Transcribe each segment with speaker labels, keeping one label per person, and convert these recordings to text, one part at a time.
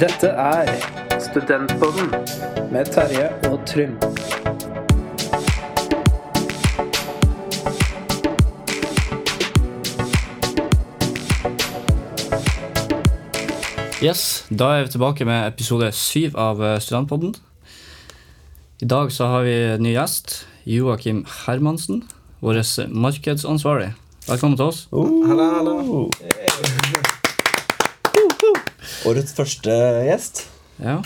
Speaker 1: Dette er
Speaker 2: Studentpodden.
Speaker 1: med Terje og Trym.
Speaker 3: Yes, Da er vi tilbake med episode syv av eh, Studentpodden. I dag så har vi en ny gjest. Joakim Hermansen, vår markedsansvarlig. Velkommen til oss.
Speaker 2: Hallo, hallo.
Speaker 4: Årets første gjest.
Speaker 3: Ja,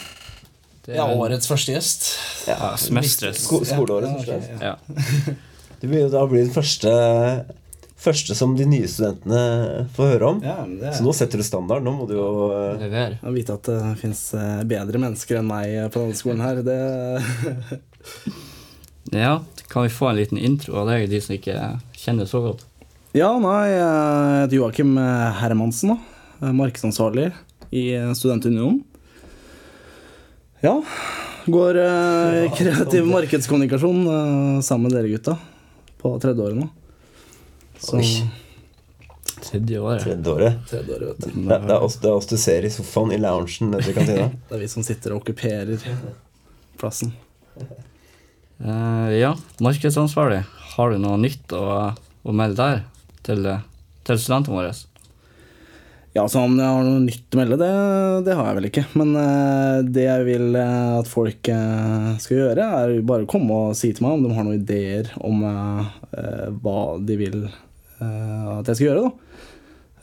Speaker 3: det
Speaker 5: Ja, årets første gjest.
Speaker 3: ja, semesterets.
Speaker 4: Sko skoleårets første
Speaker 5: Ja, ok,
Speaker 4: gjest.
Speaker 3: Ja.
Speaker 4: Du blir jo da bli den første, første som de nye studentene får høre om.
Speaker 5: Ja, men det
Speaker 4: Så nå setter du standard. Nå må du jo eh,
Speaker 3: Lever.
Speaker 5: Å vite at det fins bedre mennesker enn meg eh, på denne skolen her, det
Speaker 3: Ja, kan vi få en liten intro av deg, de som ikke kjenner så godt?
Speaker 5: Ja, nei, eh, jeg heter Joakim Hermansen, da. Markedsansvarlig i eh, Studentunionen. Ja. Går eh, kreativ markedskommunikasjon eh, sammen med dere gutta på tredje året nå. Så
Speaker 4: Oi.
Speaker 3: Tredje året.
Speaker 4: Tredje året.
Speaker 5: tredje året, vet du.
Speaker 4: Det, det, er oss, det er oss du ser i sofaen i loungen nede i kantina.
Speaker 5: Det er vi som sitter og okkuperer plassen.
Speaker 3: Eh, ja, markedsansvarlig. Har du noe nytt å, å melde der til, eh, til studentene våre?
Speaker 5: Ja, så om jeg har noe nytt å melde, det, det har jeg vel ikke. Men eh, det jeg vil eh, at folk eh, skal gjøre, er jo bare å komme og si til meg om de har noen ideer om eh, eh, hva de vil eh, at jeg skal gjøre. da.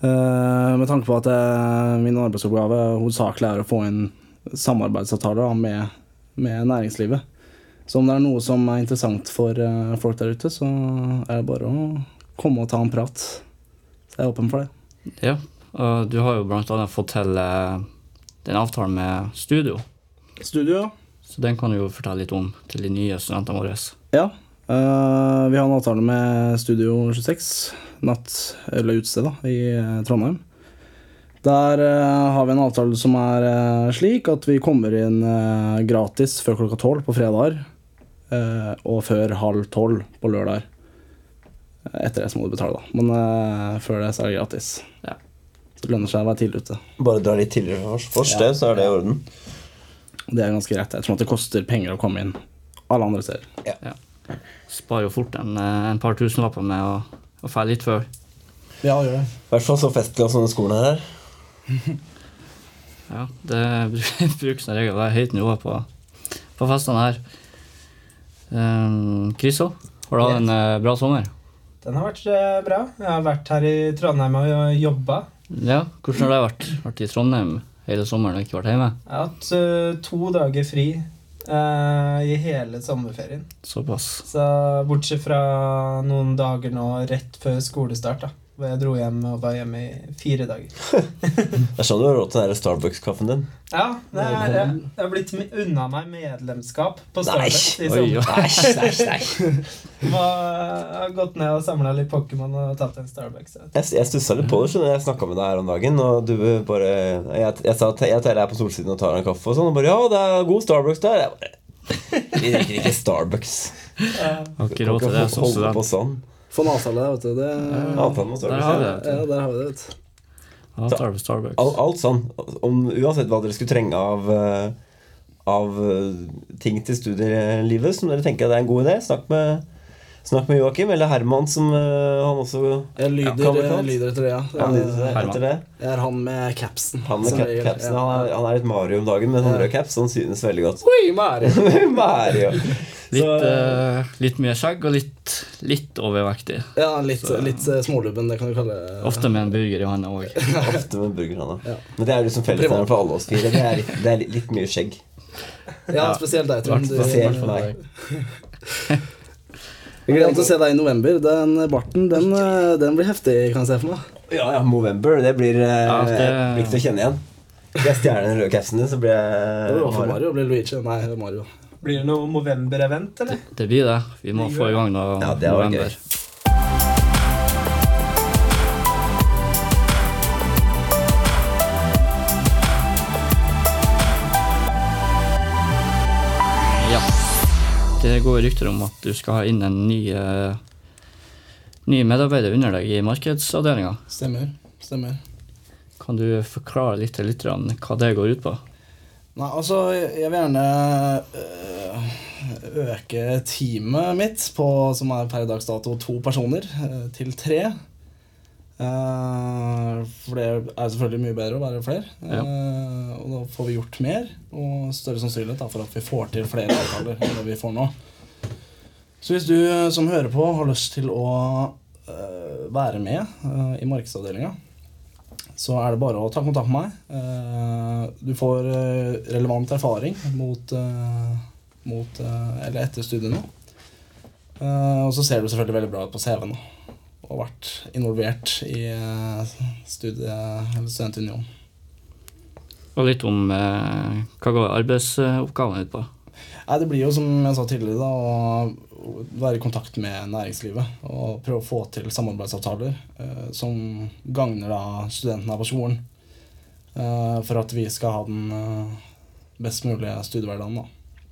Speaker 5: Eh, med tanke på at eh, min arbeidsoppgave hovedsakelig er å få inn samarbeidsavtaler da, med, med næringslivet. Så om det er noe som er interessant for eh, folk der ute, så er det bare å komme og ta en prat. Så jeg er åpen for det.
Speaker 3: Ja, og du har jo blant annet fått til eh, den avtalen med studio.
Speaker 5: Studio, ja.
Speaker 3: Så den kan du jo fortelle litt om til de nye studentene våre.
Speaker 5: Ja. eh, vi har en avtale med Studio 26, natt- eller utested, da, i eh, Trondheim. Der eh, har vi en avtale som er eh, slik at vi kommer inn eh, gratis før klokka tolv på fredager. eh, og før halv tolv på lørdager. Eh, Etter det så må du betale, da. Men eh, før det så er det gratis.
Speaker 3: Ja.
Speaker 5: Så det lønner seg å være tidlig ute.
Speaker 4: Bare dra litt tidligere først, først det, så er det i orden.
Speaker 5: Det er ganske greit. Jeg tror at det koster penger å komme inn alle andre steder.
Speaker 3: Sparer jo fort en, eh, en par tusenlapper med å, å fære litt før.
Speaker 5: Ja, gjør det.
Speaker 4: I hvert fall så festlig som denne skolen her er.
Speaker 3: Ja, det bru- brukes som regel. Det er høyt nivå på, på festene her. Um, Kriso, har du hatt en eh, bra sommer?
Speaker 6: Den har vært eh, bra. Jeg har vært her i Trondheim og jobba.
Speaker 3: Ja, hvordan har det vært? Vært i Trondheim hele sommeren og ikke vært hjemme?
Speaker 6: Jeg har hatt eh, to dager fri eh, i hele sommerferien.
Speaker 3: Såpass.
Speaker 6: Så bortsett fra noen dager nå rett før skolestart, da. Hvor jeg dro hjem og var hjemme i fire dager.
Speaker 4: Det er sånn du har råd til den der Starbucks-kaffen din.
Speaker 6: Ja, det er, det har blitt mi- unna meg medlemskap på
Speaker 4: Nei.
Speaker 6: Starbucks. i
Speaker 3: Oi,
Speaker 6: sommer.
Speaker 3: oi.
Speaker 6: Må- Jeg har gått ned og samla litt Pokémon og tatt en Starbucks. vet du.
Speaker 4: Jeg, jeg stussa litt på det. skjønner du. Jeg snakka med deg her om dagen, og du bare Jeg, jeg sa at jeg Terje er på solsiden og tar en kaffe og sånn, og bare Ja, det er god Starbucks der. Jeg bare Vi drikker ikke Starbucks.
Speaker 6: Eh,
Speaker 3: Har ikke råd til det som
Speaker 4: Holde på
Speaker 3: student.
Speaker 4: sånn.
Speaker 5: Få en avtale der, vet du. Det,
Speaker 4: Avtalen med
Speaker 3: Der
Speaker 4: Starbucks.
Speaker 3: har vi
Speaker 5: ja,
Speaker 3: det.
Speaker 5: der har vi det, vet du.
Speaker 3: Avtale på Starbucks.
Speaker 4: Alt, alt sånn. Om, uansett hva dere skulle trenge av eh, Av eh, ting til studielivet som dere tenker det er en god idé, snakk med Snakk med Joakim, eller Herman, som eh, han også
Speaker 5: Jeg lyder,
Speaker 4: kan bli kalt.
Speaker 5: jeg lyder etter det, ja.
Speaker 4: han
Speaker 5: Jeg-
Speaker 4: lider seg
Speaker 3: Herman.
Speaker 4: etter det.
Speaker 5: Jeg er han med capsen.
Speaker 4: Han med
Speaker 5: som
Speaker 4: cap
Speaker 5: regel.
Speaker 4: capsen,
Speaker 5: Ja.
Speaker 4: han er, han er litt Mario om dagen, men han rød caps, han synes veldig godt.
Speaker 5: Oi, Mari!
Speaker 4: Mario.
Speaker 3: Litt,
Speaker 4: Så,
Speaker 3: eh, litt mye skjegg og litt, litt overvektig.
Speaker 5: Ja, litt, litt eh, smålubben, det kan du kalle det.
Speaker 3: Ofte med en burger i hånda òg.
Speaker 4: ofte med burger, han, da.
Speaker 5: Ja.
Speaker 4: Men det er jo liksom fellesnevneren for alle oss fire. Det er, litt- det er litt, litt mye skjegg.
Speaker 5: Ja, spesielt deg, Trond. Du-
Speaker 4: Spesielt for meg.
Speaker 5: Jeg gleder meg til å se deg i november. Den barten, den, eh, den blir heftig, kan jeg se for meg.
Speaker 4: Ja, ja, Movember, det blir eh,
Speaker 3: Ja, det-
Speaker 4: jeg blir ikke til å kjenne igjen. Jeg stjeler den røde capsen din, så blir
Speaker 5: Det
Speaker 4: jeg
Speaker 5: blir for
Speaker 4: Mario.
Speaker 5: Mario, det blir Luigi. Nei, det er Mario.
Speaker 6: Blir det noe Movember-event, eller?
Speaker 3: Det blir det. Vi må få i gang noe
Speaker 4: Ja, det var gøy.
Speaker 3: Ja. Det går rykter om at du skal ha inn en ny, eh, ny medarbeider under deg i markedsavdelinga.
Speaker 5: Stemmer. Stemmer.
Speaker 3: Kan du forklare litt til lytterne hva det går ut på?
Speaker 5: Nei, altså, jeg vil gjerne øh, øke teamet mitt, på, som er per dags dato to personer, øh, til tre. Eh, for det er selvfølgelig mye bedre å være flere.
Speaker 3: Ja.
Speaker 5: Eh, og da får vi gjort mer, og større sannsynlighet da, for at vi får til flere avtaler enn det vi får nå. Så hvis du øh, som hører på har lyst til å øh, være med øh, i markedsavdelinga, så er det bare å ta kontakt med meg. Eh, Du får eh, relevant erfaring mot, eh, mot eh, eller etter studiene. Eh, Og så ser du selvfølgelig veldig bra ut på CV-en da, og har vært involvert i eh, studie, eller studentunion.
Speaker 3: Og litt om eh, hva går arbeidsoppgavene ut på.
Speaker 5: Nei, det blir jo som jeg sa tidligere, da, å være i kontakt med næringslivet og prøve å få til samarbeidsavtaler eh, som gagner da studentene her på skolen. eh, for at vi skal ha den eh, best mulige studiehverdagen, da.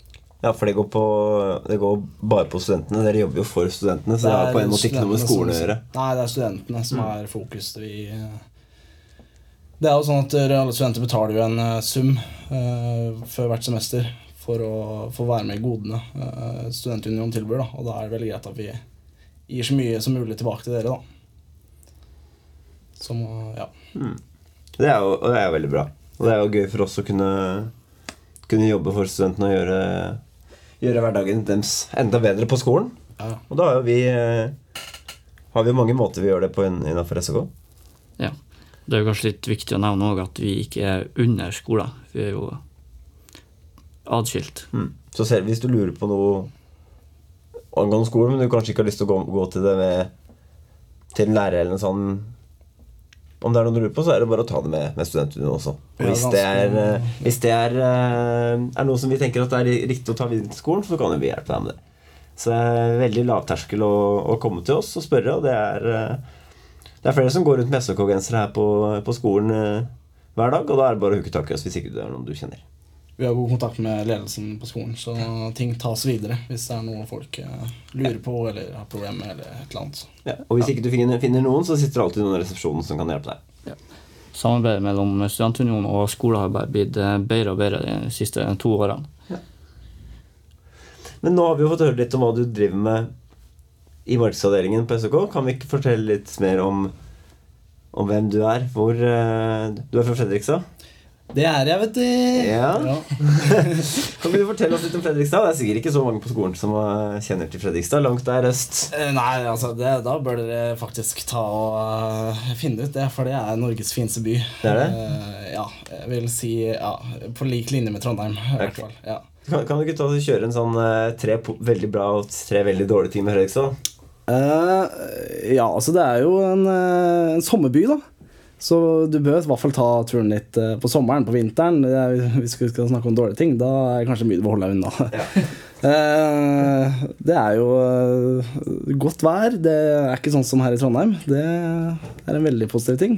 Speaker 4: Ja, for det går, på, det går bare på studentene. Dere jobber jo for studentene, så det har på en måte ikke noe med
Speaker 5: studentene
Speaker 4: skolen å
Speaker 5: som-
Speaker 4: gjøre. Mm.
Speaker 5: Nei, det er studentene som er fokus. Vi, eh, det er jo sånn at eh, alle studenter betaler jo en eh, sum eh, før hvert semester for å få være med i godene eh, Studentunion tilbyr. Da. Og da er det veldig greit at vi gir så mye som mulig tilbake til dere, da. Som, eh, ja.
Speaker 4: Det er jo, og det er jo veldig bra. Og det er jo gøy for oss å kunne, kunne jobbe for studentene og gjøre, gjøre hverdagen deres enda bedre på skolen.
Speaker 5: Ja, ja.
Speaker 4: Og da har jo vi eh, har vi jo mange måter vi gjør det på innafor SK.
Speaker 3: Ja. Det er jo kanskje litt viktig å nevne òg at vi ikke er under skolen. Vi er jo atskilt.
Speaker 4: Mm. Så selv hvis du lurer på noe angående skolen, men du kanskje ikke har lyst til å gå, gå til det med til en lærer eller noe sånt Om det er noe du lurer på, så er det bare å ta det med, med studentunion også. Og
Speaker 5: Ja,
Speaker 4: hvis det, er,
Speaker 5: ganske-
Speaker 4: eh, hvis det er, eh, er noe som vi tenker at det er riktig å ta videre til skolen, så kan jo vi hjelpe deg med det. Så det er veldig lavterskel å, å komme til oss og spørre, og det er eh, det er flere som går rundt med SOK-gensere her på, på skolen eh, hver dag, og da er det bare å hooke tak i oss hvis ikke det er noen du kjenner.
Speaker 5: Vi har god kontakt med ledelsen på skolen, så ting tas videre hvis det er noe folk eh, lurer på eller har problemer med. eller et eller annet.
Speaker 4: Ja, og hvis ikke du finner, finner noen, så sitter det alltid noen i resepsjonen som kan hjelpe deg.
Speaker 3: Samarbeidet mellom Studentunionen og skolen har bare blitt eh, bedre og bedre de siste to årene.
Speaker 4: Men nå har vi jo fått høre litt om hva du driver med i markedsavdelingen på SK. Kan vi ikke fortelle litt mer om, om hvem du er? Hvor eh, Du er fra Fredrikstad?
Speaker 5: Det er jeg, vet du!
Speaker 4: Ja.
Speaker 5: Ja.
Speaker 4: Kan ikke du fortelle oss litt om Fredrikstad? Det er sikkert ikke så mange på skolen som eh, kjenner til Fredrikstad. Langt der øst.
Speaker 5: Eh, Nei, altså det, Da bør dere faktisk ta og eh, finne ut det, for det er Norges fineste by.
Speaker 4: Det er det?
Speaker 5: Eh, ja, jeg vil si ja, på lik linje med Trondheim. i hvert
Speaker 4: Ok.
Speaker 5: fall. Ja.
Speaker 4: Kan, kan du ikke ta og kjøre en sånn eh, tre po- veldig bra og tre veldig dårlige ting med Fredrikstad?
Speaker 5: Eh, ja, altså det er jo en, eh, en sommerby, da. Så du bør i hvert fall ta turen litt eh, på sommeren, på vinteren. Det er, hvis vi skal snakke om dårlige ting, da er det kanskje mye du bør holde deg unna. Eh, det er jo eh, godt vær. Det er ikke sånn som her i Trondheim. Det er en veldig positiv ting.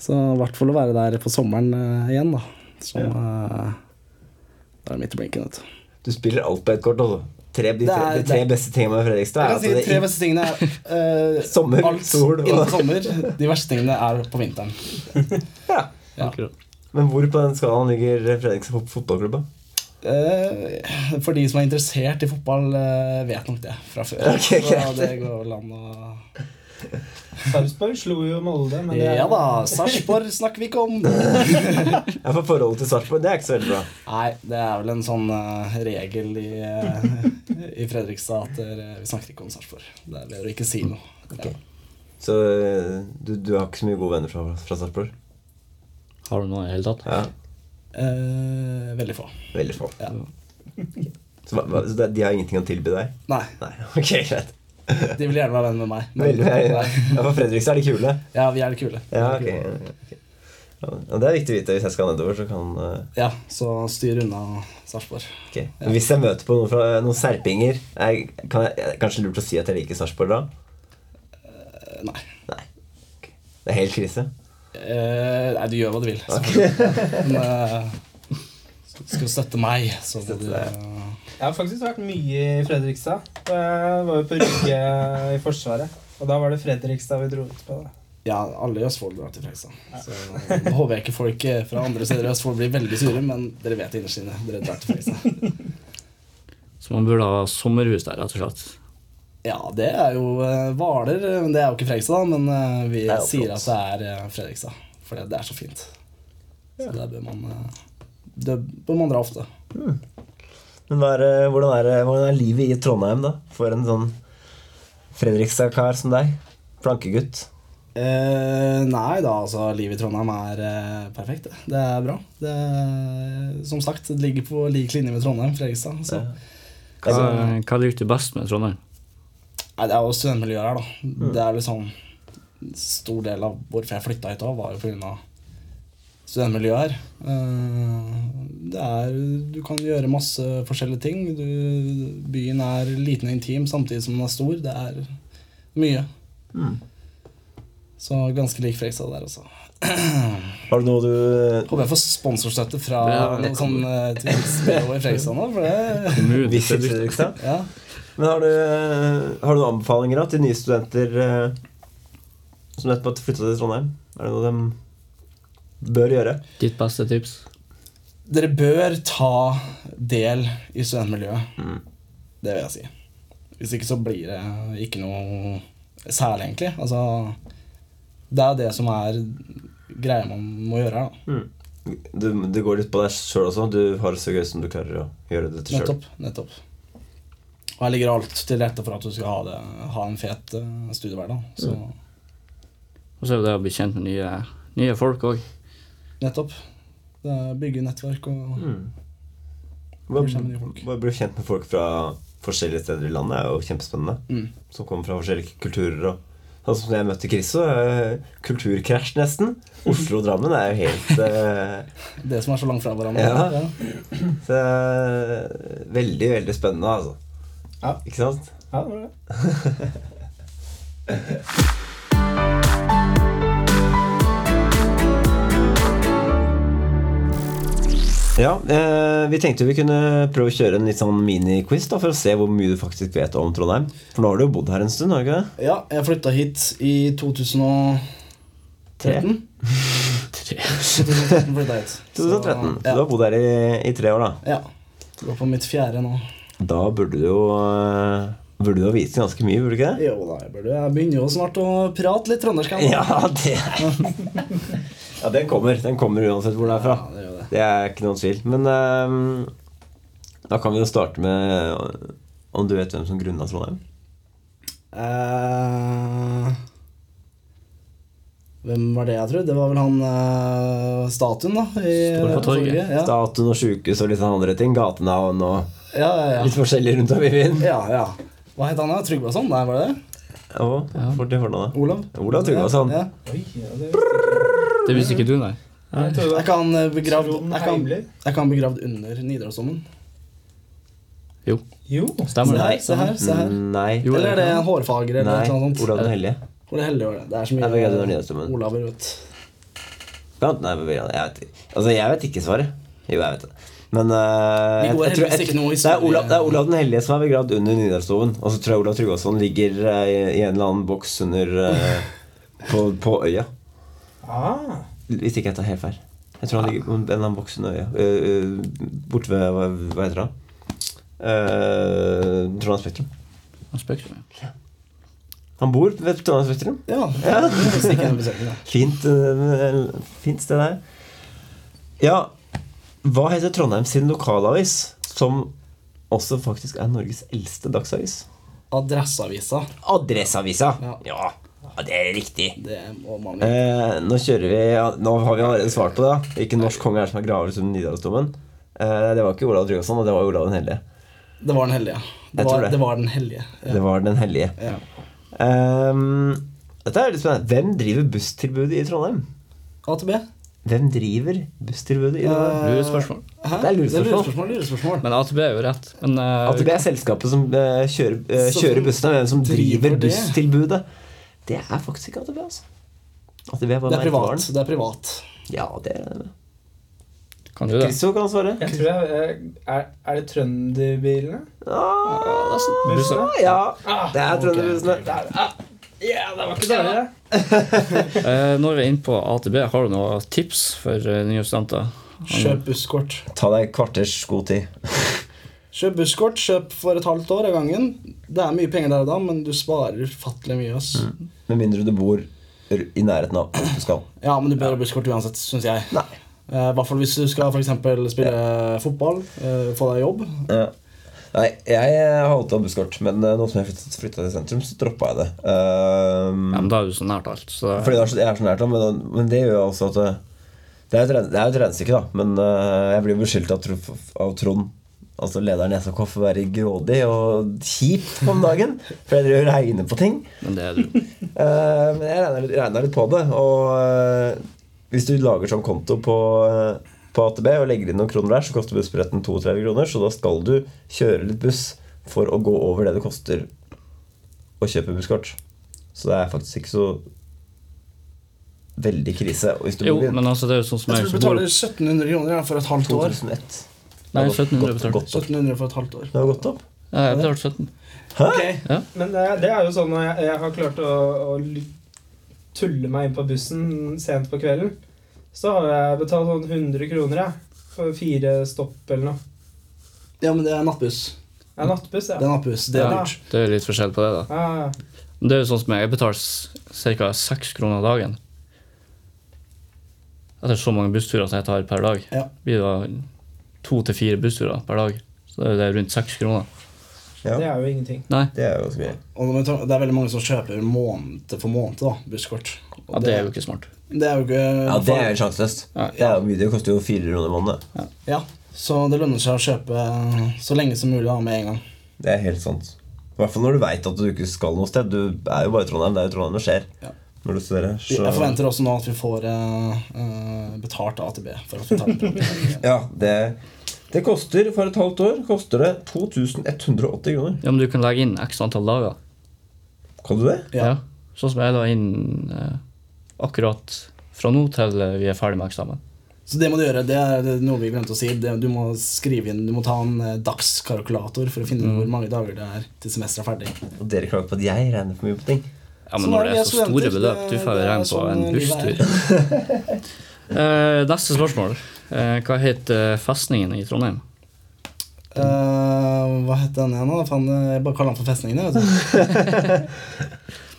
Speaker 5: Så i hvert fall å være der på sommeren eh, igjen, da. Som eh, Da er det midt i blinken, vet du.
Speaker 4: Du spiller alt på ett kort, altså. Tre, de,
Speaker 5: Det
Speaker 4: tre,
Speaker 5: er-
Speaker 4: de tre beste tingene med Fredrikstad er
Speaker 5: Jeg kan
Speaker 4: at
Speaker 5: si de
Speaker 4: det
Speaker 5: tre
Speaker 4: er
Speaker 5: beste tingene er eh,
Speaker 4: Sommer,
Speaker 5: alt
Speaker 4: sol og-
Speaker 5: innen sommer. De verste tingene er på vinteren.
Speaker 4: Ja.
Speaker 5: Ja.
Speaker 4: Men hvor på den skalaen ligger Fredrikstad fot- fotballklubb? da?
Speaker 5: Eh, for de som er interessert i fotball, eh, vet nok det fra før.
Speaker 4: Ok,
Speaker 5: Så
Speaker 4: greit.
Speaker 5: det går vel an å
Speaker 6: Sarpsborg slo jo Molde, men det er
Speaker 5: Ja da, Sarpsborg snakker vi ikke om.
Speaker 4: Ja, for Forholdet til Sarpsborg det er ikke så veldig bra.
Speaker 5: Nei, det er vel en sånn eh, regel i, eh, i Fredrikstad at dere- vi snakker ikke om Sarpsborg. Det er bedre å ikke si noe. Ja.
Speaker 4: Så eh, du, du har ikke så mye gode venner fra, fra Sarpsborg?
Speaker 3: Har du noe i det hele tatt?
Speaker 4: Ja,
Speaker 5: Eh, veldig få.
Speaker 4: Veldig få.
Speaker 5: Ja.
Speaker 4: Så, hva- hva- så det- de har ingenting å tilby deg?
Speaker 5: Nei,
Speaker 4: Nei, ok, greit.
Speaker 5: de vil gjerne være venn med meg. men-
Speaker 4: Veldig, ja,
Speaker 5: Nei.
Speaker 4: ja, for Fredrikstad er de kule.
Speaker 5: Ja, vi er det kule.
Speaker 4: Ja, ok. ja, ok. Ja, og det er viktig å vite hvis jeg skal nedover. så kan... eh,
Speaker 5: Ja, så styr unna Sarpsborg.
Speaker 4: ok. Men Hvis jeg møter på noen, fra, noen serpinger, er, kan jeg, er det kanskje lurt å si at jeg liker Sarpsborg da?
Speaker 5: Eh, Nei.
Speaker 4: Nei. Ok. Det er helt krise.
Speaker 5: Eh, nei, du gjør hva du vil. selvfølgelig. Men eh, skal du støtte meg, så må du eh,
Speaker 6: Jeg har faktisk vært mye i Fredrikstad. Jeg var jo på Rygge i Forsvaret. Og da var det Fredrikstad vi dro ut på. Da.
Speaker 5: Ja, alle i Østfold drar til Frekstad. Så nå håper jeg ikke folk eh, fra andre steder i Østfold blir veldig sure, men dere vet innerst inne. Dere drar til Frekstad.
Speaker 3: Så man burde ha sommerhus der, rett og slett.
Speaker 5: Ja, det er jo eh, Hvaler, men det er jo ikke Frekstad, da. Men eh, vi
Speaker 4: Det er jo
Speaker 5: sier
Speaker 4: flott.
Speaker 5: at det er eh, Fredrikstad, for det- det er så fint. Så der bør man eh, Det bør man dra ofte.
Speaker 4: Men hva er, det- hvordan, er, det- hvordan er livet i Trondheim, da? For en sånn Fredrikstad-kar som deg? Plankegutt.
Speaker 5: Eh, nei da, altså livet i Trondheim er eh, perfekt. Det. det er bra. Det, som sagt, det ligger på lik linje med Trondheim, Fredrikstad. Så.
Speaker 3: Hva, hva likte du best med Trondheim?
Speaker 5: Nei, det er jo studentmiljøet her, da. Det er liksom en stor del av hvorfor jeg flytta hit òg, var jo pga. studentmiljøet her. Eh, Det er Du kan gjøre masse forskjellige ting. Du, byen er liten og intim samtidig som den er stor. Det er mye. Så ganske lik Frekstad der også.
Speaker 4: Har du noe du
Speaker 5: Håper jeg får sponsorstøtte fra
Speaker 3: Ja, det
Speaker 5: noen sånn eh, turistbyrå i Fredrikstad nå, for det
Speaker 4: Mm.
Speaker 3: Kommune til
Speaker 4: Visit
Speaker 3: Fredrikstad?
Speaker 4: Fredrikstad?
Speaker 5: Ja.
Speaker 4: Men har du, eh, har du noen anbefalinger da, til nye studenter eh, som nettopp har flytta til Trondheim? Er det noe de bør gjøre?
Speaker 3: Ditt beste tips?
Speaker 5: Dere bør ta del i studentmiljøet.
Speaker 4: Mm.
Speaker 5: Det vil jeg si. Hvis ikke så blir det ikke noe særlig, egentlig. Altså, det er det som er greia man må gjøre her, da.
Speaker 4: Du, det går litt på deg sjøl også. Du har det så gøy som du klarer å gjøre det til sjøl.
Speaker 5: Nettopp. nettopp. Og her ligger alt til rette for at du skal ha, det, ha en fet eh, studiehverdag. Så
Speaker 4: Mm.
Speaker 3: Og så er det det å bli kjent med nye, nye folk òg.
Speaker 5: nettopp. Det er Bygge nettverk og
Speaker 4: Mm.
Speaker 5: Blir kjent med nye folk.
Speaker 4: Bare bli kjent med folk fra forskjellige steder i landet er jo kjempespennende.
Speaker 5: Mm.
Speaker 4: Som kommer fra forskjellige kulturer. og Sånn som jeg møtte Chris, så er kulturkrasj nesten. Oslo og Drammen er jo helt eh,
Speaker 5: det som er så langt fra hverandre.
Speaker 4: Ja. Så det er veldig, veldig spennende, altså.
Speaker 6: Ja.
Speaker 4: Ikke sant?
Speaker 6: Ja, det var det.
Speaker 4: Ja, eh, Vi tenkte vi kunne prøve å kjøre en litt sånn mini-quiz da, for å se hvor mye du faktisk vet om Trondheim. For nå har du jo bodd her en stund, har du ikke det?
Speaker 5: Ja, jeg flytta hit i 2013.
Speaker 4: Tre.
Speaker 5: 2013 flytta jeg hit.
Speaker 4: 2013. Så du har
Speaker 5: ja.
Speaker 4: bodd her i, i tre år, da.
Speaker 5: ja. Går på mitt fjerde nå.
Speaker 4: Da burde du jo eh, Burde du jo vite ganske mye, burde du ikke det?
Speaker 5: Jo da, jeg, burde, jeg begynner jo snart å prate litt trøndersk. her nå.
Speaker 4: Ja, det Ja, den kommer. Den kommer uansett hvor den er fra.
Speaker 5: Ja, det gjør det.
Speaker 4: Det er ikke noen tvil. Men ehm, da kan vi jo starte med eh, om du vet hvem som grunna Trondheim?
Speaker 5: Eh, hvem var det jeg trodde? Det var vel han eh, statuen, da. I,
Speaker 3: Står på torget.
Speaker 5: Ja.
Speaker 4: Statuen og sjukehus og litt sånn andre ting. Gatenavn og
Speaker 5: Ja, ja, ja.
Speaker 4: litt forskjellig rundt om i byen.
Speaker 5: ja, ja. Hva het han da? Tryggvason? Nei, var det det?
Speaker 4: Og fort i fornavnet.
Speaker 5: Olav?
Speaker 4: Olav Tryggvason.
Speaker 5: Ja.
Speaker 6: Oi, ja, det
Speaker 3: Det visste ikke du, nei.
Speaker 6: Jeg trodde
Speaker 5: Er
Speaker 6: det var
Speaker 5: ikke han eh, begravd,
Speaker 6: Trond
Speaker 5: er ikke han,
Speaker 6: Heimler.
Speaker 5: er ikke han begravd under Nidarosdomen?
Speaker 3: Jo,
Speaker 6: Jo.
Speaker 3: stemmer det.
Speaker 5: Nei, se her. se her
Speaker 4: Mm, Nei.
Speaker 3: Jo,
Speaker 5: Eller er det
Speaker 3: det
Speaker 5: en hårfager eller
Speaker 4: Nei.
Speaker 5: noe sånt?
Speaker 4: Olav den hellige.
Speaker 5: Hvor det heldige var det. Det er så
Speaker 4: Nei, begravd under
Speaker 5: mye
Speaker 4: Nidarosdomen.
Speaker 5: Olaver, vet du.
Speaker 4: Vent, Nei, men jeg vet ikke. Altså, jeg vet ikke svaret. Jo, jeg vet det. Men eh,
Speaker 5: Vi
Speaker 4: jeg-
Speaker 5: går
Speaker 4: jeg tror-
Speaker 5: heldigvis
Speaker 4: jeg-
Speaker 5: ikke noe
Speaker 4: det, er
Speaker 5: historie-
Speaker 4: Olav, det er Olav den hellige som er begravd under Nidarosdomen. Og så tror jeg Olav Tryggvason ligger eh, i, i en eller annen boks under eh, på, på øya.
Speaker 6: Ah,
Speaker 4: Hvis ikke jeg tar helt feil. Jeg tror han ligger på en eller annen boks under øya. Eh, eh, Borte ved Hva hva heter det? Uh, Trondheim Spektrum.
Speaker 3: Han spøkte med.
Speaker 4: Han bor ved Trondheim Spektrum.
Speaker 5: Ja. ja. Ikke noe besøkende.
Speaker 4: Fint, eh, fint sted der. Ja, hva heter Trondheim sin lokalavis, som også faktisk er Norges eldste dagsavis?
Speaker 5: Adresseavisa.
Speaker 4: Adresseavisa.
Speaker 5: Ja.
Speaker 4: Ja, ja, det er riktig.
Speaker 5: Det må man jo
Speaker 4: Eh, nå kjører vi ja, Nå har vi allerede svart på det. da. Hvilken norsk konge er det som er gravet under Nidarosdomen? Eh, det var ikke Olav Tryggvason, og det var Olav den hellige.
Speaker 5: Det var den hellige. Det,
Speaker 4: Jeg tror
Speaker 5: var,
Speaker 4: det.
Speaker 5: det. var den hellige. Ja.
Speaker 4: Det var den hellige.
Speaker 5: Ja.
Speaker 4: Ehm, dette er litt spennende. Hvem driver busstilbudet i Trondheim?
Speaker 5: AtB?
Speaker 4: Hvem driver busstilbudet i Trondheim?
Speaker 3: Lurt spørsmål.
Speaker 5: Hæ?
Speaker 4: Det er lurespørsmål.
Speaker 5: lurespørsmål, lurespørsmål.
Speaker 3: Men AtB er jo rett. Men eh,
Speaker 4: At det er selskapet som eh, kjører, eh,
Speaker 5: Så
Speaker 4: kjører
Speaker 5: som
Speaker 4: bussene, men hvem som driver
Speaker 5: driver det?
Speaker 4: busstilbudet. Det er faktisk ikke AtB, altså. AtB er bare
Speaker 5: Det er
Speaker 4: merkevaren.
Speaker 5: privat. Det er privat.
Speaker 4: Ja, det er det.
Speaker 3: kan du det?
Speaker 4: Christo kan svare.
Speaker 6: jeg tror det er Er, er det trønderbilene?
Speaker 4: Ah,
Speaker 3: Bussen.
Speaker 4: ja,
Speaker 6: Ah,
Speaker 4: det er trønderbussene.
Speaker 6: Ja, det var ikke dårlig, det.
Speaker 3: Eh, når vi er inne på AtB, har du noen tips for eh, nye studenter?
Speaker 4: Mm.
Speaker 5: Kjøp busskort.
Speaker 4: Ta deg et kvarters skotid.
Speaker 5: Kjøp busskort kjøp for et halvt år av gangen. Det er mye penger der og da, men du sparer ufattelig mye. ass.
Speaker 4: Med mindre du bor r- i nærheten av hvor du skal.
Speaker 5: Ja, men du bør ha busskort uansett, syns jeg.
Speaker 4: Nei.
Speaker 5: Eh, I hvert fall hvis du skal for eksempel, spille fotball, eh, få deg jobb.
Speaker 4: Ja. Nei, jeg har alltid hatt busskort, men eh, nå som jeg flyttet, flyttet til sentrum, så droppa jeg det.
Speaker 5: Mm.
Speaker 4: Ehm,
Speaker 3: Ja, men da er du så nært alt. Så
Speaker 4: Fordi det er så, jeg er så nært ham, men, men det gjør jo også at eh, Det er jo et ren- det er jo et regnestykke, da, men eh, jeg blir jo beskyldt av, Tro- av Trond, altså lederen i SAK, for å være grådig og kjip om dagen. For jeg driver og regner på ting.
Speaker 3: men det er du.
Speaker 4: Eh, Men jeg regner, litt- regner litt på det. Og eh, hvis du lager sånn konto på, eh, på AtB og legger inn noen kroner der, så koster bussbilletten 32 kroner, så da skal du kjøre litt buss for å gå over det det koster å kjøpe busskort. Så det er faktisk ikke så veldig krise. Og hvis du
Speaker 3: Jo,
Speaker 4: bor i
Speaker 3: men altså, det er jo sånn som
Speaker 5: Jeg
Speaker 3: jeg
Speaker 5: tror du
Speaker 3: som bor
Speaker 5: betaler 1700 kroner ja, for et halvt år.
Speaker 4: 2001
Speaker 3: Nei,
Speaker 4: Det har gått-
Speaker 3: 1700
Speaker 4: gått-
Speaker 3: betalte.
Speaker 4: gått opp.
Speaker 5: 1700 for et halvt år.
Speaker 4: Det har gått opp.
Speaker 3: Ja, Jeg betalte 17.
Speaker 6: Ok,
Speaker 3: Ja.
Speaker 6: Men det, det er jo sånn når jeg, jeg har klart å, å l- tulle meg inn på bussen sent på kvelden, så har jeg betalt sånn 100 kroner, jeg. For fire stopp eller noe.
Speaker 5: Ja, men det er nattbuss.
Speaker 6: Ja, nattbuss,
Speaker 5: Det er
Speaker 6: ja.
Speaker 5: nattbuss, det er
Speaker 3: Ja.
Speaker 5: dyrt.
Speaker 3: Det er jo litt forskjell på det, da.
Speaker 6: Ja, ja.
Speaker 3: Men Det er jo sånn som jeg, jeg betaler ca. 6 kroner dagen. Etter så mange bussturer som jeg tar per dag,
Speaker 5: Ja.
Speaker 3: blir det da to til fire bussturer per dag. Så det er jo det rundt 6 kroner.
Speaker 4: Ja.
Speaker 6: Det er jo ingenting.
Speaker 4: Det er jo ganske mye.
Speaker 5: Og men ta- det er veldig mange som kjøper måned for måned da, busskort. Og
Speaker 3: Ja, det er jo ikke smart.
Speaker 5: det er jo ikke
Speaker 4: Ja, det er jo sjanseløst.
Speaker 3: Ja.
Speaker 4: Det er jo mye, det koster jo 4 kroner i måneden. det.
Speaker 5: Ja, så det lønner seg å kjøpe så lenge som mulig da, med en gang.
Speaker 4: Det er helt sant. I hvert fall når du veit at du ikke skal noe sted. Du er jo bare i Trondheim. Det er jo i Trondheim det skjer.
Speaker 5: Ja.
Speaker 4: Når du studerer.
Speaker 5: Vi- Jeg forventer også nå at vi får eh, eh, betalt AtB for at vi tar den.
Speaker 4: Ja, det, det koster for et halvt år koster det 2180 kroner.
Speaker 3: Ja, Men du kan legge inn x antall dager.
Speaker 4: Kan du det?
Speaker 5: Ja.
Speaker 3: Ja. Sånn som jeg la inn eh, akkurat fra nå til eh, vi er ferdig med eksamen.
Speaker 5: Så det må du gjøre. Det er det er noe vi glemte å si. Det, du må skrive inn, du må ta en eh, dagskalkulator for å finne
Speaker 3: Mm.
Speaker 5: ut hvor mange dager det er til semesteret er ferdig.
Speaker 4: Og dere klager på at jeg regner for mye på ting.
Speaker 3: Ja, men når
Speaker 5: Så da
Speaker 3: det
Speaker 5: er
Speaker 3: er
Speaker 5: vi
Speaker 3: så store
Speaker 5: studenter,
Speaker 3: beløp, du får
Speaker 5: det-
Speaker 3: jo
Speaker 5: det er
Speaker 3: regne på
Speaker 5: sånn
Speaker 3: en
Speaker 5: livet
Speaker 3: busstur. Eh, neste spørsmål. Eh, hva heter festningen i Trondheim?
Speaker 5: Eh, hva het den igjen? da? Faen, jeg bare kaller den for Festningen. jeg, vet du.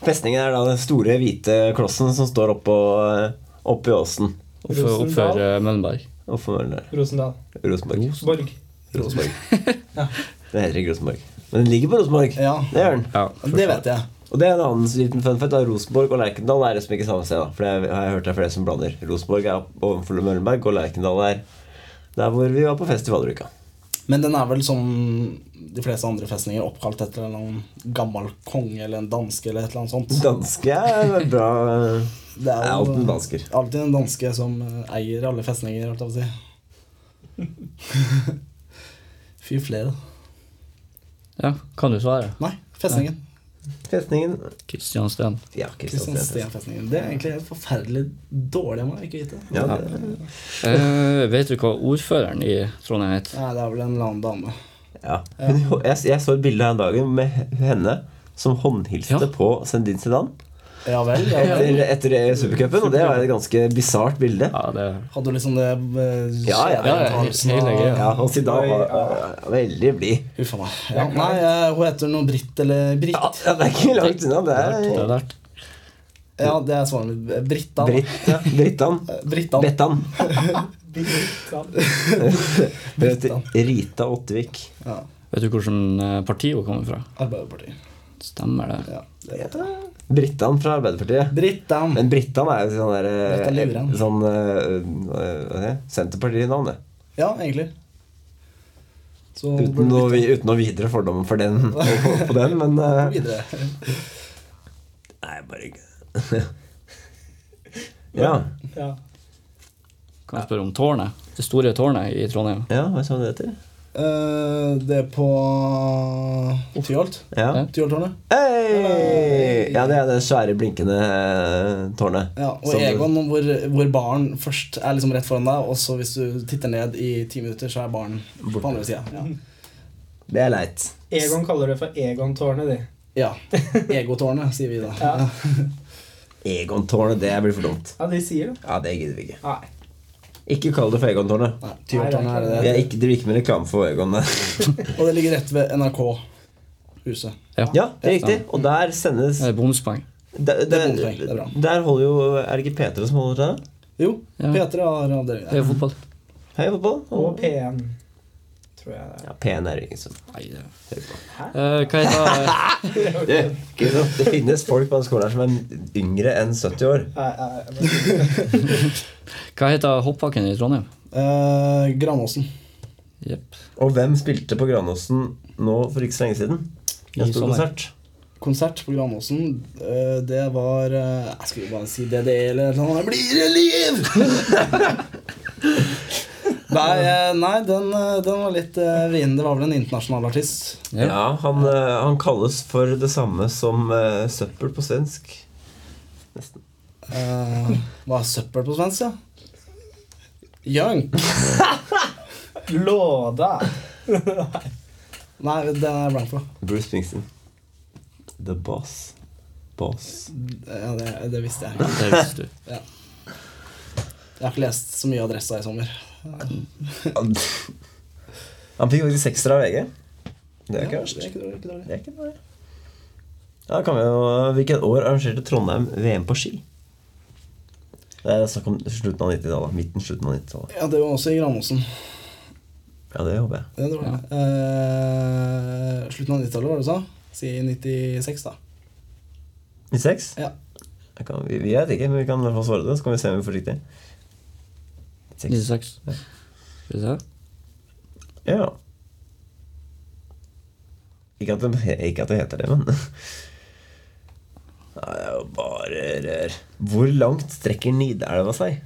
Speaker 4: Festningen er da den store, hvite klossen som står oppå eh, oppe i åsen.
Speaker 3: Oppfør,
Speaker 6: Rosendal.
Speaker 3: oppfør eh, Møllenberg.
Speaker 4: Oppå Møller.
Speaker 6: Rosendal.
Speaker 4: Rosenborg.
Speaker 6: Borg.
Speaker 4: Rosenborg. Det heter ikke Rosenborg. Men den ligger på Rosenborg.
Speaker 5: Ja,
Speaker 4: Det gjør den.
Speaker 3: Ja,
Speaker 5: det vet jeg.
Speaker 4: Og det er en annen liten fun fact. da. Rosenborg og Lerkendal er liksom ikke samme sted. da For det har jeg hørt det er flere som blander. Rosenborg er overfor Møllenberg, og Lerkendal er der hvor vi var på fest i Valderuka.
Speaker 5: Men den er vel som de fleste andre festninger oppkalt etter en eller annen gammel konge eller en danske eller et eller annet sånt.
Speaker 4: Danske er bra
Speaker 5: Det
Speaker 4: Det er
Speaker 5: er
Speaker 4: alltid
Speaker 5: jo eh,
Speaker 4: dansker.
Speaker 5: alltid en danske som eh, eier alle festninger, holdt jeg på å si. Fy flere.
Speaker 3: Ja, kan du svare?
Speaker 5: Nei, festningen.
Speaker 4: Festningen
Speaker 3: Kristian Steen.
Speaker 4: Ja, Kristian Steen.
Speaker 5: Kristiansten-festningen. Det er egentlig helt forferdelig dårlig av meg å ikke vite.
Speaker 4: Ja, det-
Speaker 3: Eh, vet du hva ordføreren i Trondheim het?
Speaker 5: Nei, det er vel en eller annen dame.
Speaker 4: ja. Hun- Jeg, jeg så et bilde her en dag med henne som
Speaker 3: Ja.
Speaker 4: håndhilste på Sendin Sedan
Speaker 5: Ja vel. Ja vel.
Speaker 4: etter, etter Supercupen, og det var et ganske bisart bilde.
Speaker 3: Ja, det
Speaker 5: Hadde du liksom det eh,
Speaker 4: Ja, ja,
Speaker 3: ja,
Speaker 5: skjeve uttalelsen
Speaker 3: hele
Speaker 5: av-
Speaker 3: greia.
Speaker 4: Ja, og Zidane var, var veldig blid.
Speaker 5: Huff a meg. Ja, nei, eh, hun heter noe Britt eller Britt.
Speaker 4: Ja, det er ikke langt unna. Det
Speaker 3: er lært. Det
Speaker 4: er
Speaker 3: er lært.
Speaker 5: Ja, det er svaret mitt. Britta. da.
Speaker 4: Britt, Brittan.
Speaker 5: Eh, Britta.
Speaker 4: Bettan.
Speaker 6: Brittan.
Speaker 4: Hun heter Rita Ottervik.
Speaker 5: Ja,
Speaker 3: Vet du hvilket eh, parti hun kommer fra?
Speaker 5: Arbeiderpartiet.
Speaker 3: Stemmer det.
Speaker 5: Ja, det vet jeg.
Speaker 4: Brittan fra Arbeiderpartiet.
Speaker 5: Brittan.
Speaker 4: Men Brittan er jo sånn der
Speaker 5: Britta
Speaker 4: eh,
Speaker 5: Luren.
Speaker 4: Sånn eh, hva heter det? Senterpartinavn, det.
Speaker 5: Ja, egentlig. Så
Speaker 4: Uten noe, vi- uten noe videre fordommer for den og på, på den, men eh,
Speaker 5: videre.
Speaker 4: Nei, bare ikke Ja.
Speaker 6: Ja.
Speaker 3: Kan jeg spørre om tårnet? Det store tårnet i Trondheim.
Speaker 4: ja, hva sa du det heter?
Speaker 5: Eh, det er på eh, Tyholt.
Speaker 4: Ja.
Speaker 5: Tyholttårnet.
Speaker 4: Hei! Ja, det er det svære, blinkende eh, tårnet.
Speaker 5: Ja, og
Speaker 4: Som-
Speaker 5: Egon, hvor, hvor baren først er liksom rett foran deg, og så hvis du titter ned i ti minutter, så er baren på andre sida. Ja.
Speaker 4: Det er leit.
Speaker 6: Egon kaller det for Egon-tårnet, de.
Speaker 5: ja. Egotårnet, sier vi da.
Speaker 6: Ja.
Speaker 4: Egontårnet, det blir for dumt.
Speaker 6: Ja, de sier det.
Speaker 4: Ja, det gidder vi ikke.
Speaker 6: Nei.
Speaker 4: Ikke kall det for Egontårnet.
Speaker 5: Nei, Tyholtårnet er det
Speaker 4: Vi er ikke, driver ikke med reklame for Egon. nei.
Speaker 5: Og det ligger rett ved NRK-huset.
Speaker 4: Ja, det er riktig. Og der sendes
Speaker 3: Det er bonuspoeng.
Speaker 4: Der,
Speaker 5: Det er
Speaker 4: der,
Speaker 5: bompenger, det er bra.
Speaker 4: der holder jo Er det ikke Peter som holder til det?
Speaker 5: Jo,
Speaker 3: Ja.
Speaker 5: P3 har avdeling
Speaker 3: Det er
Speaker 5: der.
Speaker 3: jo fotball.
Speaker 4: Hei, fotball.
Speaker 6: Og P1, tror jeg det er.
Speaker 4: Ja, PN er ingen som
Speaker 3: Nei, det er-
Speaker 4: hører på.
Speaker 3: Eh, hva heter
Speaker 4: Det, ikke sant? det finnes folk på den skolen her som er yngre enn 70 år.
Speaker 6: Nei, nei, nei.
Speaker 3: Hva heter hoppbakken i Trondheim?
Speaker 5: Eh, Granåsen.
Speaker 3: Jepp.
Speaker 4: Og hvem spilte på Granåsen nå for ikke så lenge siden? En
Speaker 3: I
Speaker 4: stor
Speaker 3: sommer.
Speaker 4: konsert.
Speaker 5: Konsert på Granåsen. eh, det var eh, Jeg skulle bare si DDE eller noe sånt. Det Blir det liv?! nei, eh, nei den, eh, den var litt eh, vrien. Det var vel en internasjonal artist.
Speaker 3: Ja.
Speaker 4: Ja, han, eh, han kalles for det samme som eh, søppel på svensk.
Speaker 5: Uh, var søppel på svensk, ja? Young.
Speaker 6: Låda.
Speaker 5: Nei, den er jeg blank på.
Speaker 4: Bruce Springsteen. The Boss. Boss.
Speaker 5: Ja, det, det visste jeg.
Speaker 3: Det visste du.
Speaker 5: Jeg har ikke lest så mye Adressa i sommer.
Speaker 4: Han, han fikk faktisk sekser av VG. Det er ikke verst.
Speaker 5: Det er ikke dårlig, ikke dårlig.
Speaker 4: Det er ikke dårlig. Da kan vi jo Hvilket år arrangerte Trondheim VM på ski? Det er snakk om slutten av 90-tallet. Midten, slutten av 90-tallet.
Speaker 5: Ja, det var også i Granåsen.
Speaker 4: Ja, det håper jeg.
Speaker 5: Ja, det var det. Eh, slutten av 90-tallet, var det du sa? Si 96, da.
Speaker 4: 96?
Speaker 5: Ja.
Speaker 4: Jeg Kan, vi, vi vet ikke, men vi kan i hvert fall svare det. Så kan vi se om vi får riktig. 96.
Speaker 3: 96.
Speaker 4: Ja.
Speaker 3: Skal vi se.
Speaker 4: Ja. Ikke at, det, ikke at det heter det, men Nei, det er jo bare rør. Hvor langt strekker Nidelva seg?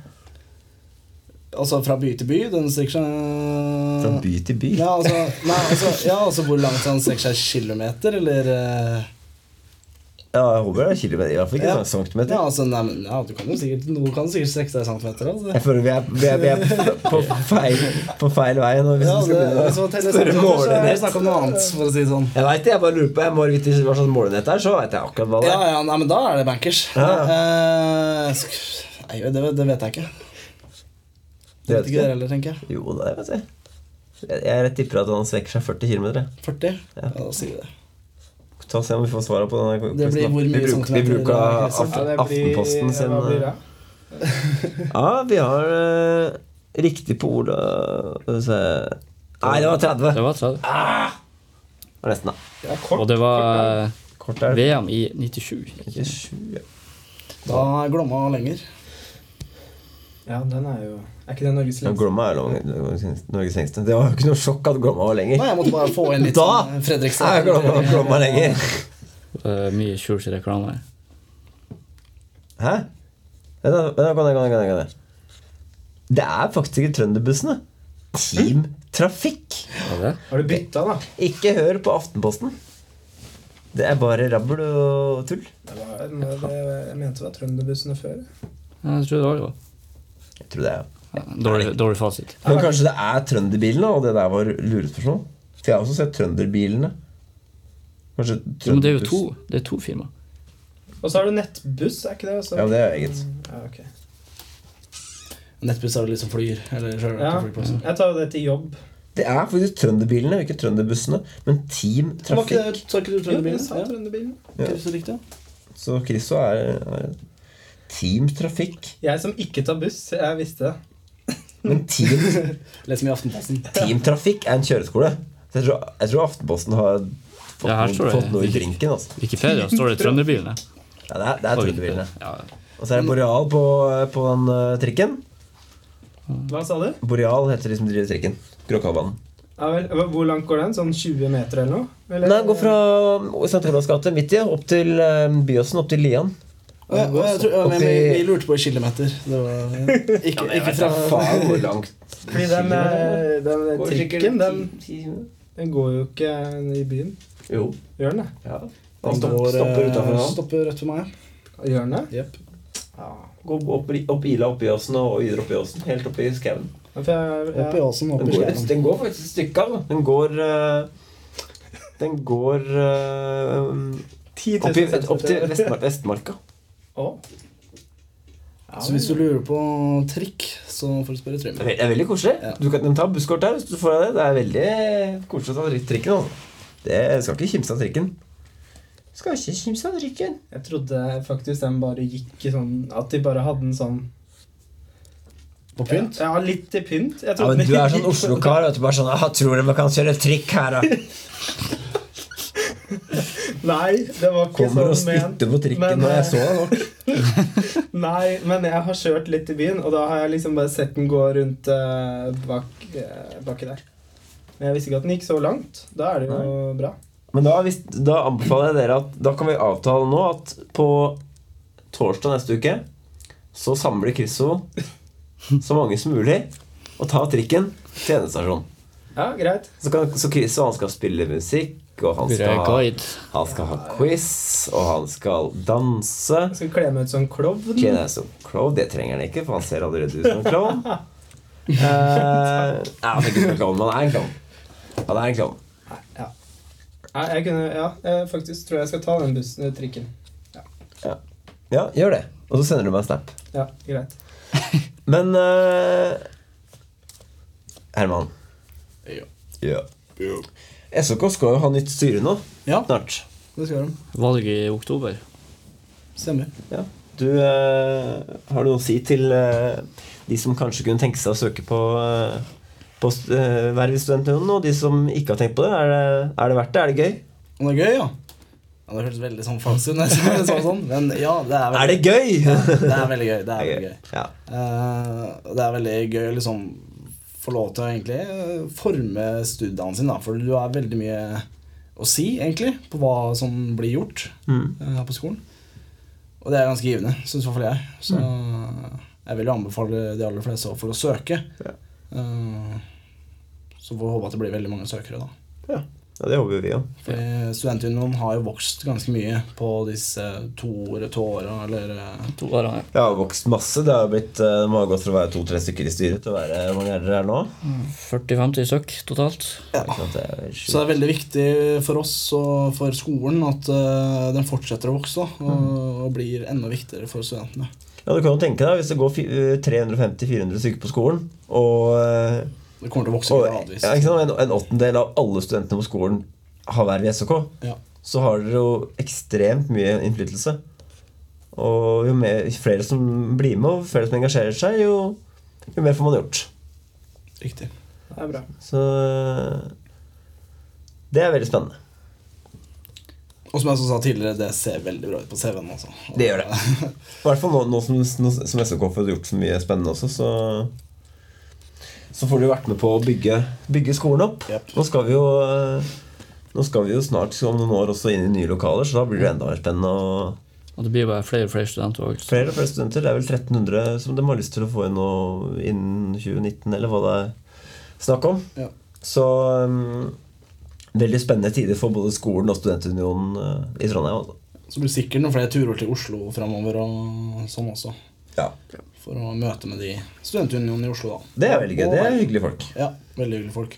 Speaker 5: Altså fra by til by? Den strekker seg eh,
Speaker 4: Fra by til by?
Speaker 5: Ja, altså, nei, altså, ja, altså hvor langt den strekker seg? Kilometer, eller eh,
Speaker 4: Ja, jeg håper det er kilometer. I hvert fall ikke
Speaker 5: Ja.
Speaker 4: sånn centimeter.
Speaker 5: Ja, altså, nei, men, ja, du kan jo sikkert Noen kan sikkert strekke seg i centimeter, altså.
Speaker 4: Jeg føler vi er, vi er, vi er på, feil, på feil vei nå. Hvis
Speaker 5: Ja,
Speaker 4: vi
Speaker 5: det,
Speaker 4: skal begynne
Speaker 5: altså,
Speaker 4: å
Speaker 5: telle
Speaker 4: spørre
Speaker 5: centimeter, så er det
Speaker 4: målenhet.
Speaker 5: snakk om noe annet, for å si det sånn.
Speaker 4: Jeg vet det, jeg bare lurer på Jeg må vite hva slags målenhet det er, så vet jeg akkurat hva det
Speaker 5: Ja,
Speaker 4: er.
Speaker 5: ja, nei, men da er det bankers.
Speaker 4: Ja,
Speaker 5: Eh, sk- nei, det, det vet jeg ikke. Det vet ikke dere heller, tenker jeg.
Speaker 4: Jo, det vet jeg. Jeg, jeg tipper at han strekker seg 40 km.
Speaker 5: 40?
Speaker 4: Ja.
Speaker 5: Ja, da sier vi det.
Speaker 4: Ta og Se om vi får svaret på denne quizen.
Speaker 5: Det blir
Speaker 4: da.
Speaker 5: hvor mye
Speaker 4: vi bruker, vi
Speaker 5: centimeter
Speaker 4: bruker
Speaker 5: det er,
Speaker 4: af,
Speaker 5: Kristian.
Speaker 6: Ja, det blir-
Speaker 4: Aftenposten sin
Speaker 6: Hva blir
Speaker 4: eh,
Speaker 6: det?
Speaker 4: Ja, vi har eh, riktig på ordet eh, Skal vi se Nei, det var 30.
Speaker 3: Det var 30.
Speaker 4: Det var nesten, da.
Speaker 6: Det er kort.
Speaker 3: Og det var eh,
Speaker 4: Kort er det.
Speaker 3: VM i 97.
Speaker 4: Ikke sju, ja.
Speaker 5: Da er Glomma lenger.
Speaker 6: Ja, den er jo Er ikke det Norges
Speaker 4: Ja,
Speaker 6: lengste?
Speaker 4: Glomma er lang- Norges lengste. Det var jo ikke noe sjokk at Glomma var lenger.
Speaker 5: Nei, jeg måtte bare få inn
Speaker 4: Eh,
Speaker 5: litt
Speaker 4: Da
Speaker 5: sånn
Speaker 4: Jeg
Speaker 5: Fredrikstad.
Speaker 4: glomma, glomma lenger.
Speaker 3: Eh, Mye Church-reklame.
Speaker 4: Hæ? Vent, da, vent da, gå ned, gå ned, gå ned, gå ned. Det er faktisk ikke trønderbussene. Team Trafikk.
Speaker 3: Er det det?
Speaker 6: Har du bytta, da?
Speaker 4: Ikke hør på Aftenposten. Det er bare rabbel og tull.
Speaker 6: Det var, en- det, jeg mente det var trønderbussene før.
Speaker 3: Ja, Jeg tror det var det.
Speaker 4: Jeg tror det er ja.
Speaker 3: Ja, Dårlig, dårlig fasit.
Speaker 4: Men kanskje det er trønderbilene, og det der var lurespørsmål? For jeg har også sett trønderbilene. Kanskje
Speaker 3: Jo, men det er jo
Speaker 4: trønderbuss-
Speaker 3: to, det er to firma.
Speaker 6: Og så har du nettbuss, er ikke det? Så,
Speaker 4: Ja, det er eget.
Speaker 6: ja, ok.
Speaker 5: Nettbuss er det liksom flyr. Eller kjører
Speaker 6: Ja.
Speaker 5: til flyplassen.
Speaker 6: Jeg tar jo det til jobb.
Speaker 4: Det er faktisk trønderbilene, ikke trønderbussene, men Team
Speaker 5: Var ikke
Speaker 4: Trafikk.
Speaker 5: det, så ikke du Trønderbilen?
Speaker 6: Ja, jeg sa trønderbilen.
Speaker 4: Ja.
Speaker 5: Ikke så riktig, ja.
Speaker 4: Så Christo er, er Team Trafikk.
Speaker 6: Jeg som ikke tar buss, jeg visste det.
Speaker 4: Men Team
Speaker 5: Les mye Aftenposten.
Speaker 4: Team Trafikk er en kjøreskole. Så jeg, tror, jeg tror Aftenposten har fått,
Speaker 3: Ja, her
Speaker 4: noe-
Speaker 3: står det.
Speaker 4: fått noe i drinken. Altså.
Speaker 3: Wikipedia står det Trønderbilene.
Speaker 4: Ja, det er, det er trønderbilene.
Speaker 3: Ja,
Speaker 4: Og så er det Boreal på, på den eh, trikken.
Speaker 6: Hva sa du?
Speaker 4: Boreal heter de som driver trikken. Gråkallbanen.
Speaker 6: Ja, vel, hva- hvor langt går den? Sånn 20 meter eller noe? Eller?
Speaker 4: Den går fra St. Olavs gate midt i opp til eh, Byåsen, opp til Lian.
Speaker 5: Å, ja, å, jeg tror, ja, men
Speaker 4: Oppi-
Speaker 5: vi, vi lurte på i kilometer. Det var, ikke, ikke fra
Speaker 4: faen hvor langt
Speaker 6: Fordi den, eh, den trikken, den, den går jo ikke eh, i byen.
Speaker 4: Jo.
Speaker 6: Gjør den det?
Speaker 4: Ja.
Speaker 5: Den
Speaker 4: Stopper,
Speaker 5: går, eh,
Speaker 4: stopper utenfor nå.
Speaker 5: Stopper rett for meg.
Speaker 6: Gjør den det?
Speaker 5: Jepp.
Speaker 6: Ja.
Speaker 4: Gå opp, opp Ila, opp Byåsen og videre opp Byåsen. Helt opp i skauen.
Speaker 6: Ja, For jeg,
Speaker 5: Opp i
Speaker 6: jeg,
Speaker 5: åsen, opp
Speaker 4: Den
Speaker 5: i
Speaker 4: går,
Speaker 5: skjermen.
Speaker 4: den går faktisk et stykke av. da. Den går eh, Den går eh,
Speaker 6: 10
Speaker 4: Opp, i,
Speaker 6: 000
Speaker 4: opp til Vestmark, Vestmarka.
Speaker 6: Å,
Speaker 5: Så hvis du lurer på trikk, så får du spørre Trym.
Speaker 4: Det er veldig koselig.
Speaker 5: Ja.
Speaker 4: Du kan de tar busskort der hvis du får deg det. Det er veldig koselig å ta tri- trikken. Altså. Det skal ikke kimse av trikken. Skal ikke kimse av trikken.
Speaker 6: Jeg trodde faktisk den bare gikk i sånn At de bare hadde en sånn
Speaker 5: På pynt?
Speaker 6: Ja, litt i pynt. Jeg
Speaker 4: Ja,
Speaker 6: trodde
Speaker 4: men du
Speaker 6: den
Speaker 4: er sånn
Speaker 6: gikk-
Speaker 4: Oslo-kar. vet du, bare sånn, «Ah, 'Tror du vi kan kjøre trikk her, da?'
Speaker 6: Nei, det var ikke
Speaker 4: Kommer og
Speaker 6: sånn ment.
Speaker 4: spytter på trikken.
Speaker 6: men,
Speaker 4: og jeg
Speaker 6: eh,
Speaker 4: så deg nok.
Speaker 6: Nei, men jeg har kjørt litt i byen, og da har jeg liksom bare sett den gå rundt eh, bak, eh, baki der. Men jeg visste ikke at den gikk så langt. Da er det jo bra.
Speaker 4: Men da, hvis, da anbefaler jeg dere at da kan vi avtale nå at på torsdag neste uke så samler Krisso så mange som mulig og tar trikken til endestasjonen.
Speaker 6: Ja, greit.
Speaker 4: Så, kan, så Chris og han skal spille musikk, og han
Speaker 3: Blir jeg
Speaker 4: skal, ha,
Speaker 3: guide?
Speaker 4: han skal ha quiz, og han skal danse.
Speaker 6: Jeg skal kle meg ut som klovn.
Speaker 4: Kle deg som klovn. Det trenger han ikke, for han ser allerede ut som en klovn. Eh, nei, han er ikke som en klovn, men han er en klovn. Han er en klovn.
Speaker 6: Nei, jeg kunne, ja, jeg faktisk tror jeg skal ta den bussen, den trikken.
Speaker 4: Ja, gjør det. Og så sender du meg en snap.
Speaker 6: Ja, greit.
Speaker 4: Men eh, Herman.
Speaker 5: Ja.
Speaker 4: Ja. SOK skal jo ha nytt styre nå
Speaker 5: Ja,
Speaker 4: snart.
Speaker 5: det skal de.
Speaker 3: Valg i oktober.
Speaker 5: Stemmer.
Speaker 4: Du, eh, har du noe å si til eh, de som kanskje kunne tenke seg å søke på, eh, på st- eh, verv i Studentunionen, og de som ikke har tenkt på det? Er det, er det verdt det? Er det gøy?
Speaker 5: Og det er gøy, ja. ja det hørtes veldig sånn falskt ut, når jeg sa det sånn, sånn. men ja, det er
Speaker 4: Er
Speaker 5: veldig,
Speaker 4: det gøy?
Speaker 5: det er veldig gøy. Det er veldig gøy.
Speaker 4: Ja.
Speaker 5: Eh, og det er veldig gøy å liksom få lov til å egentlig eh, forme studiene sine, da, for du har veldig mye å si, egentlig, på hva som blir gjort
Speaker 4: Mm.
Speaker 5: eh, her på skolen. Og det er ganske givende, syns i hvert fall jeg. Så jeg vil jo anbefale de aller fleste å få lov til å søke.
Speaker 4: Ja.
Speaker 5: Eh, så får vi håpe at det blir veldig mange søkere, da.
Speaker 4: ja, det håper jo vi òg.
Speaker 5: For Studentunionen har jo vokst ganske mye på disse to åra, to åra, eller eh,
Speaker 3: To år, ja.
Speaker 4: Det har vokst masse. Det har blitt, eh, det må ha gått fra å være to-tre stykker i styret til å være hvor mange er dere her nå.
Speaker 3: 40-50 stykk totalt.
Speaker 4: Ikke sant, det er sjukt.
Speaker 5: Så det er veldig viktig for oss og for skolen at eh, den fortsetter å vokse da, og,
Speaker 4: Mm.
Speaker 5: og blir enda viktigere for studentene.
Speaker 4: Ja, du kan jo tenke deg, Hvis det går fi- eh, 350-400 stykker på skolen, og, eh,
Speaker 5: Det kommer til å vokse
Speaker 4: og
Speaker 5: gradvis.
Speaker 4: ja, ikke sant, en, en åttendel av alle studentene på skolen har verv i SOK,
Speaker 5: Ja.
Speaker 4: så har dere jo ekstremt mye innflytelse. Og jo mer, flere som blir med, og flere som engasjerer seg, jo, jo mer får man gjort.
Speaker 5: Riktig.
Speaker 6: Det er bra.
Speaker 4: Så eh, det er veldig spennende.
Speaker 5: Og som jeg også sa tidligere, det ser veldig bra ut på CV-en. Altså. Og-
Speaker 4: Det gjør det. I hvert fall nå, nå som, nå som SK får gjort så mye spennende også, så Så får du vært med på å bygge, bygge skolen opp.
Speaker 5: Jep.
Speaker 4: Nå skal vi jo eh, Nå skal vi jo snart om noen år også inn i nye lokaler, så da blir det enda mer spennende. Og
Speaker 3: Og det blir bare flere og flere studenter òg.
Speaker 4: flere og flere studenter. Det er vel 1300 som de har lyst til å få inn nå innen 2019, eller hva det er snakk om.
Speaker 5: Ja.
Speaker 4: Så eh, veldig spennende tider for både skolen og Studentunionen eh, i Trondheim. Altså.
Speaker 5: Så blir det sikkert noen flere turer til Oslo framover og sånn også.
Speaker 4: Ja.
Speaker 5: For å møte med de studentunionene i Oslo, da.
Speaker 4: Det er veldig gøy. Det er hyggelige folk.
Speaker 5: Ja, veldig hyggelige folk.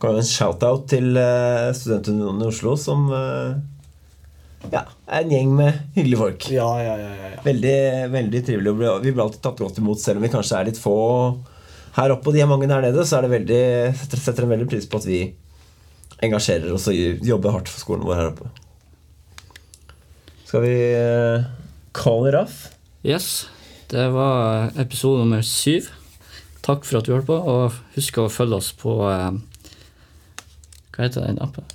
Speaker 4: Kan jo en shout-out til eh, Studentunionen i Oslo, som eh, ja, er en gjeng med hyggelige folk.
Speaker 5: Ja, ja, ja, ja, ja.
Speaker 4: Veldig, veldig trivelig. å bli- Vi blir alltid tatt godt imot, selv om vi kanskje er litt få her oppe og de er mange der nede. Så er det veldig, setter, setter en veldig pris på at vi engasjerer oss og jobber hardt for skolen vår her oppe. Skal vi eh, call it off?
Speaker 3: Yes, det var eh, episode nummer syv. Takk for at du hørte på, og husk å følge oss på eh, Hva heter den appen?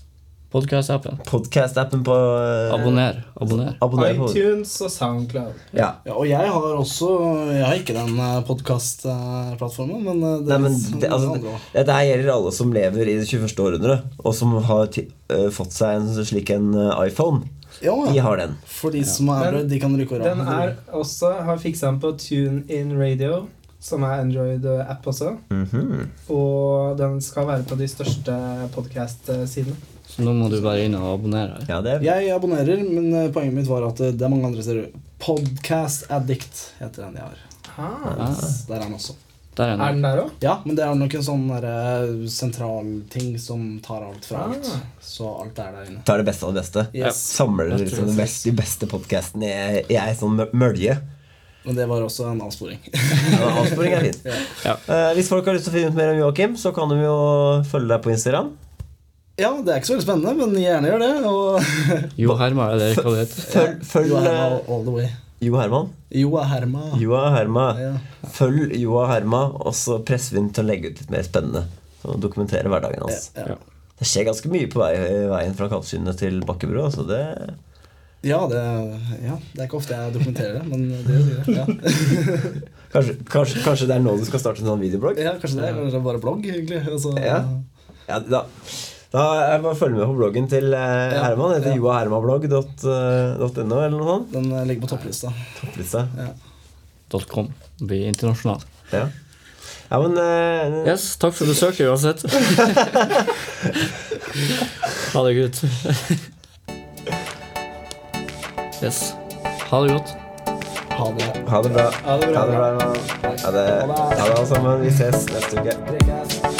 Speaker 3: Podkast-appen.
Speaker 4: Podkast-appen på eh,
Speaker 3: Abonner. Abonner.
Speaker 4: abonner på
Speaker 6: iTunes og SoundCloud.
Speaker 4: ja.
Speaker 5: Ja, og jeg har også Jeg har ikke den podkastplattformen, men eh, det
Speaker 4: Nei, men
Speaker 5: finnes
Speaker 4: det, altså,
Speaker 5: andre også.
Speaker 4: dette her gjelder alle som lever i det 21. århundre, og som har ti- øh, fått seg en slik en øh, iPhone.
Speaker 5: Ja,
Speaker 4: De har den.
Speaker 5: For de som er
Speaker 6: Men
Speaker 5: Android, de kan rykke over.
Speaker 6: Den er også, har fiksa den på TuneIn Radio, som er Android-app også.
Speaker 4: Mhm.
Speaker 6: Og den skal være på de største podkast-sidene.
Speaker 3: Så nå må du bare inn og abonnere. her.
Speaker 4: Ja, det er
Speaker 5: Jeg abonnerer, men eh, poenget mitt var at eh, det er mange andre steder. Podcast Addict heter den jeg har.
Speaker 6: Ah.
Speaker 3: Ah,
Speaker 5: Der er den også.
Speaker 3: der er
Speaker 6: Er
Speaker 3: den.
Speaker 6: den der òg?
Speaker 5: Ja, men det er nok en sånn derre sentral ting som tar alt fra alt.
Speaker 6: Ah.
Speaker 5: Så alt er der inne.
Speaker 4: tar det beste av det beste.
Speaker 5: Yes.
Speaker 4: Samler
Speaker 5: Jeg tror
Speaker 4: liksom
Speaker 5: det
Speaker 4: de best- de beste podkastene i i ei sånn mølje.
Speaker 5: Men det var også en avsporing.
Speaker 4: Ja, avsporing er fint.
Speaker 3: Ja.
Speaker 4: Eh, hvis folk har lyst til å finne ut mer om Joakim, så kan de jo følge deg på Instagram.
Speaker 5: Ja, det er ikke så veldig spennende, men gjerne gjør det. Og
Speaker 3: Jo Herma, eller hva det heter.
Speaker 4: Følg, følg
Speaker 5: Jo Herma
Speaker 4: eh,
Speaker 5: all the way.
Speaker 4: Jo Herman.
Speaker 5: Jo Herma.
Speaker 4: Joa Herma.
Speaker 5: Ja.
Speaker 4: Følg Joa Herma, og så presser vi den til å legge ut litt mer spennende. Og dokumentere hverdagen hans.
Speaker 5: Ja,
Speaker 3: ja.
Speaker 4: Det skjer ganske mye på vei, veien fra Kalvsynet til Bakkebro. Så det,
Speaker 5: Ja det, ja, det er ikke ofte jeg dokumenterer det, men det gjør jeg. Ja.
Speaker 4: kanskje, kanskje, kanskje det er nå du skal starte en sånn videoblogg?
Speaker 5: ja, kanskje det. Kanskje det er bare blogg, egentlig. Altså, og så-
Speaker 4: Ja. Ja, da, da er det bare å følge med på bloggen til eh,
Speaker 5: Ja,
Speaker 4: Herman. Det heter eh,
Speaker 5: ja.
Speaker 4: joahermablogg.no eller noe sånt.
Speaker 5: Den eh, ligger på topplista.
Speaker 4: Topplista.
Speaker 3: Dot .com. Blir internasjonal.
Speaker 4: Ja. ja, men eh,
Speaker 3: Yes, takk for besøket uansett. ha det godt. Yes. Ha det godt.
Speaker 5: Ha det.
Speaker 4: ha det bra.
Speaker 7: Ha det bra.
Speaker 4: Ha det, bra, Herman. Ha det, ha det alle sammen. Vi ses neste uke.
Speaker 7: Prekast.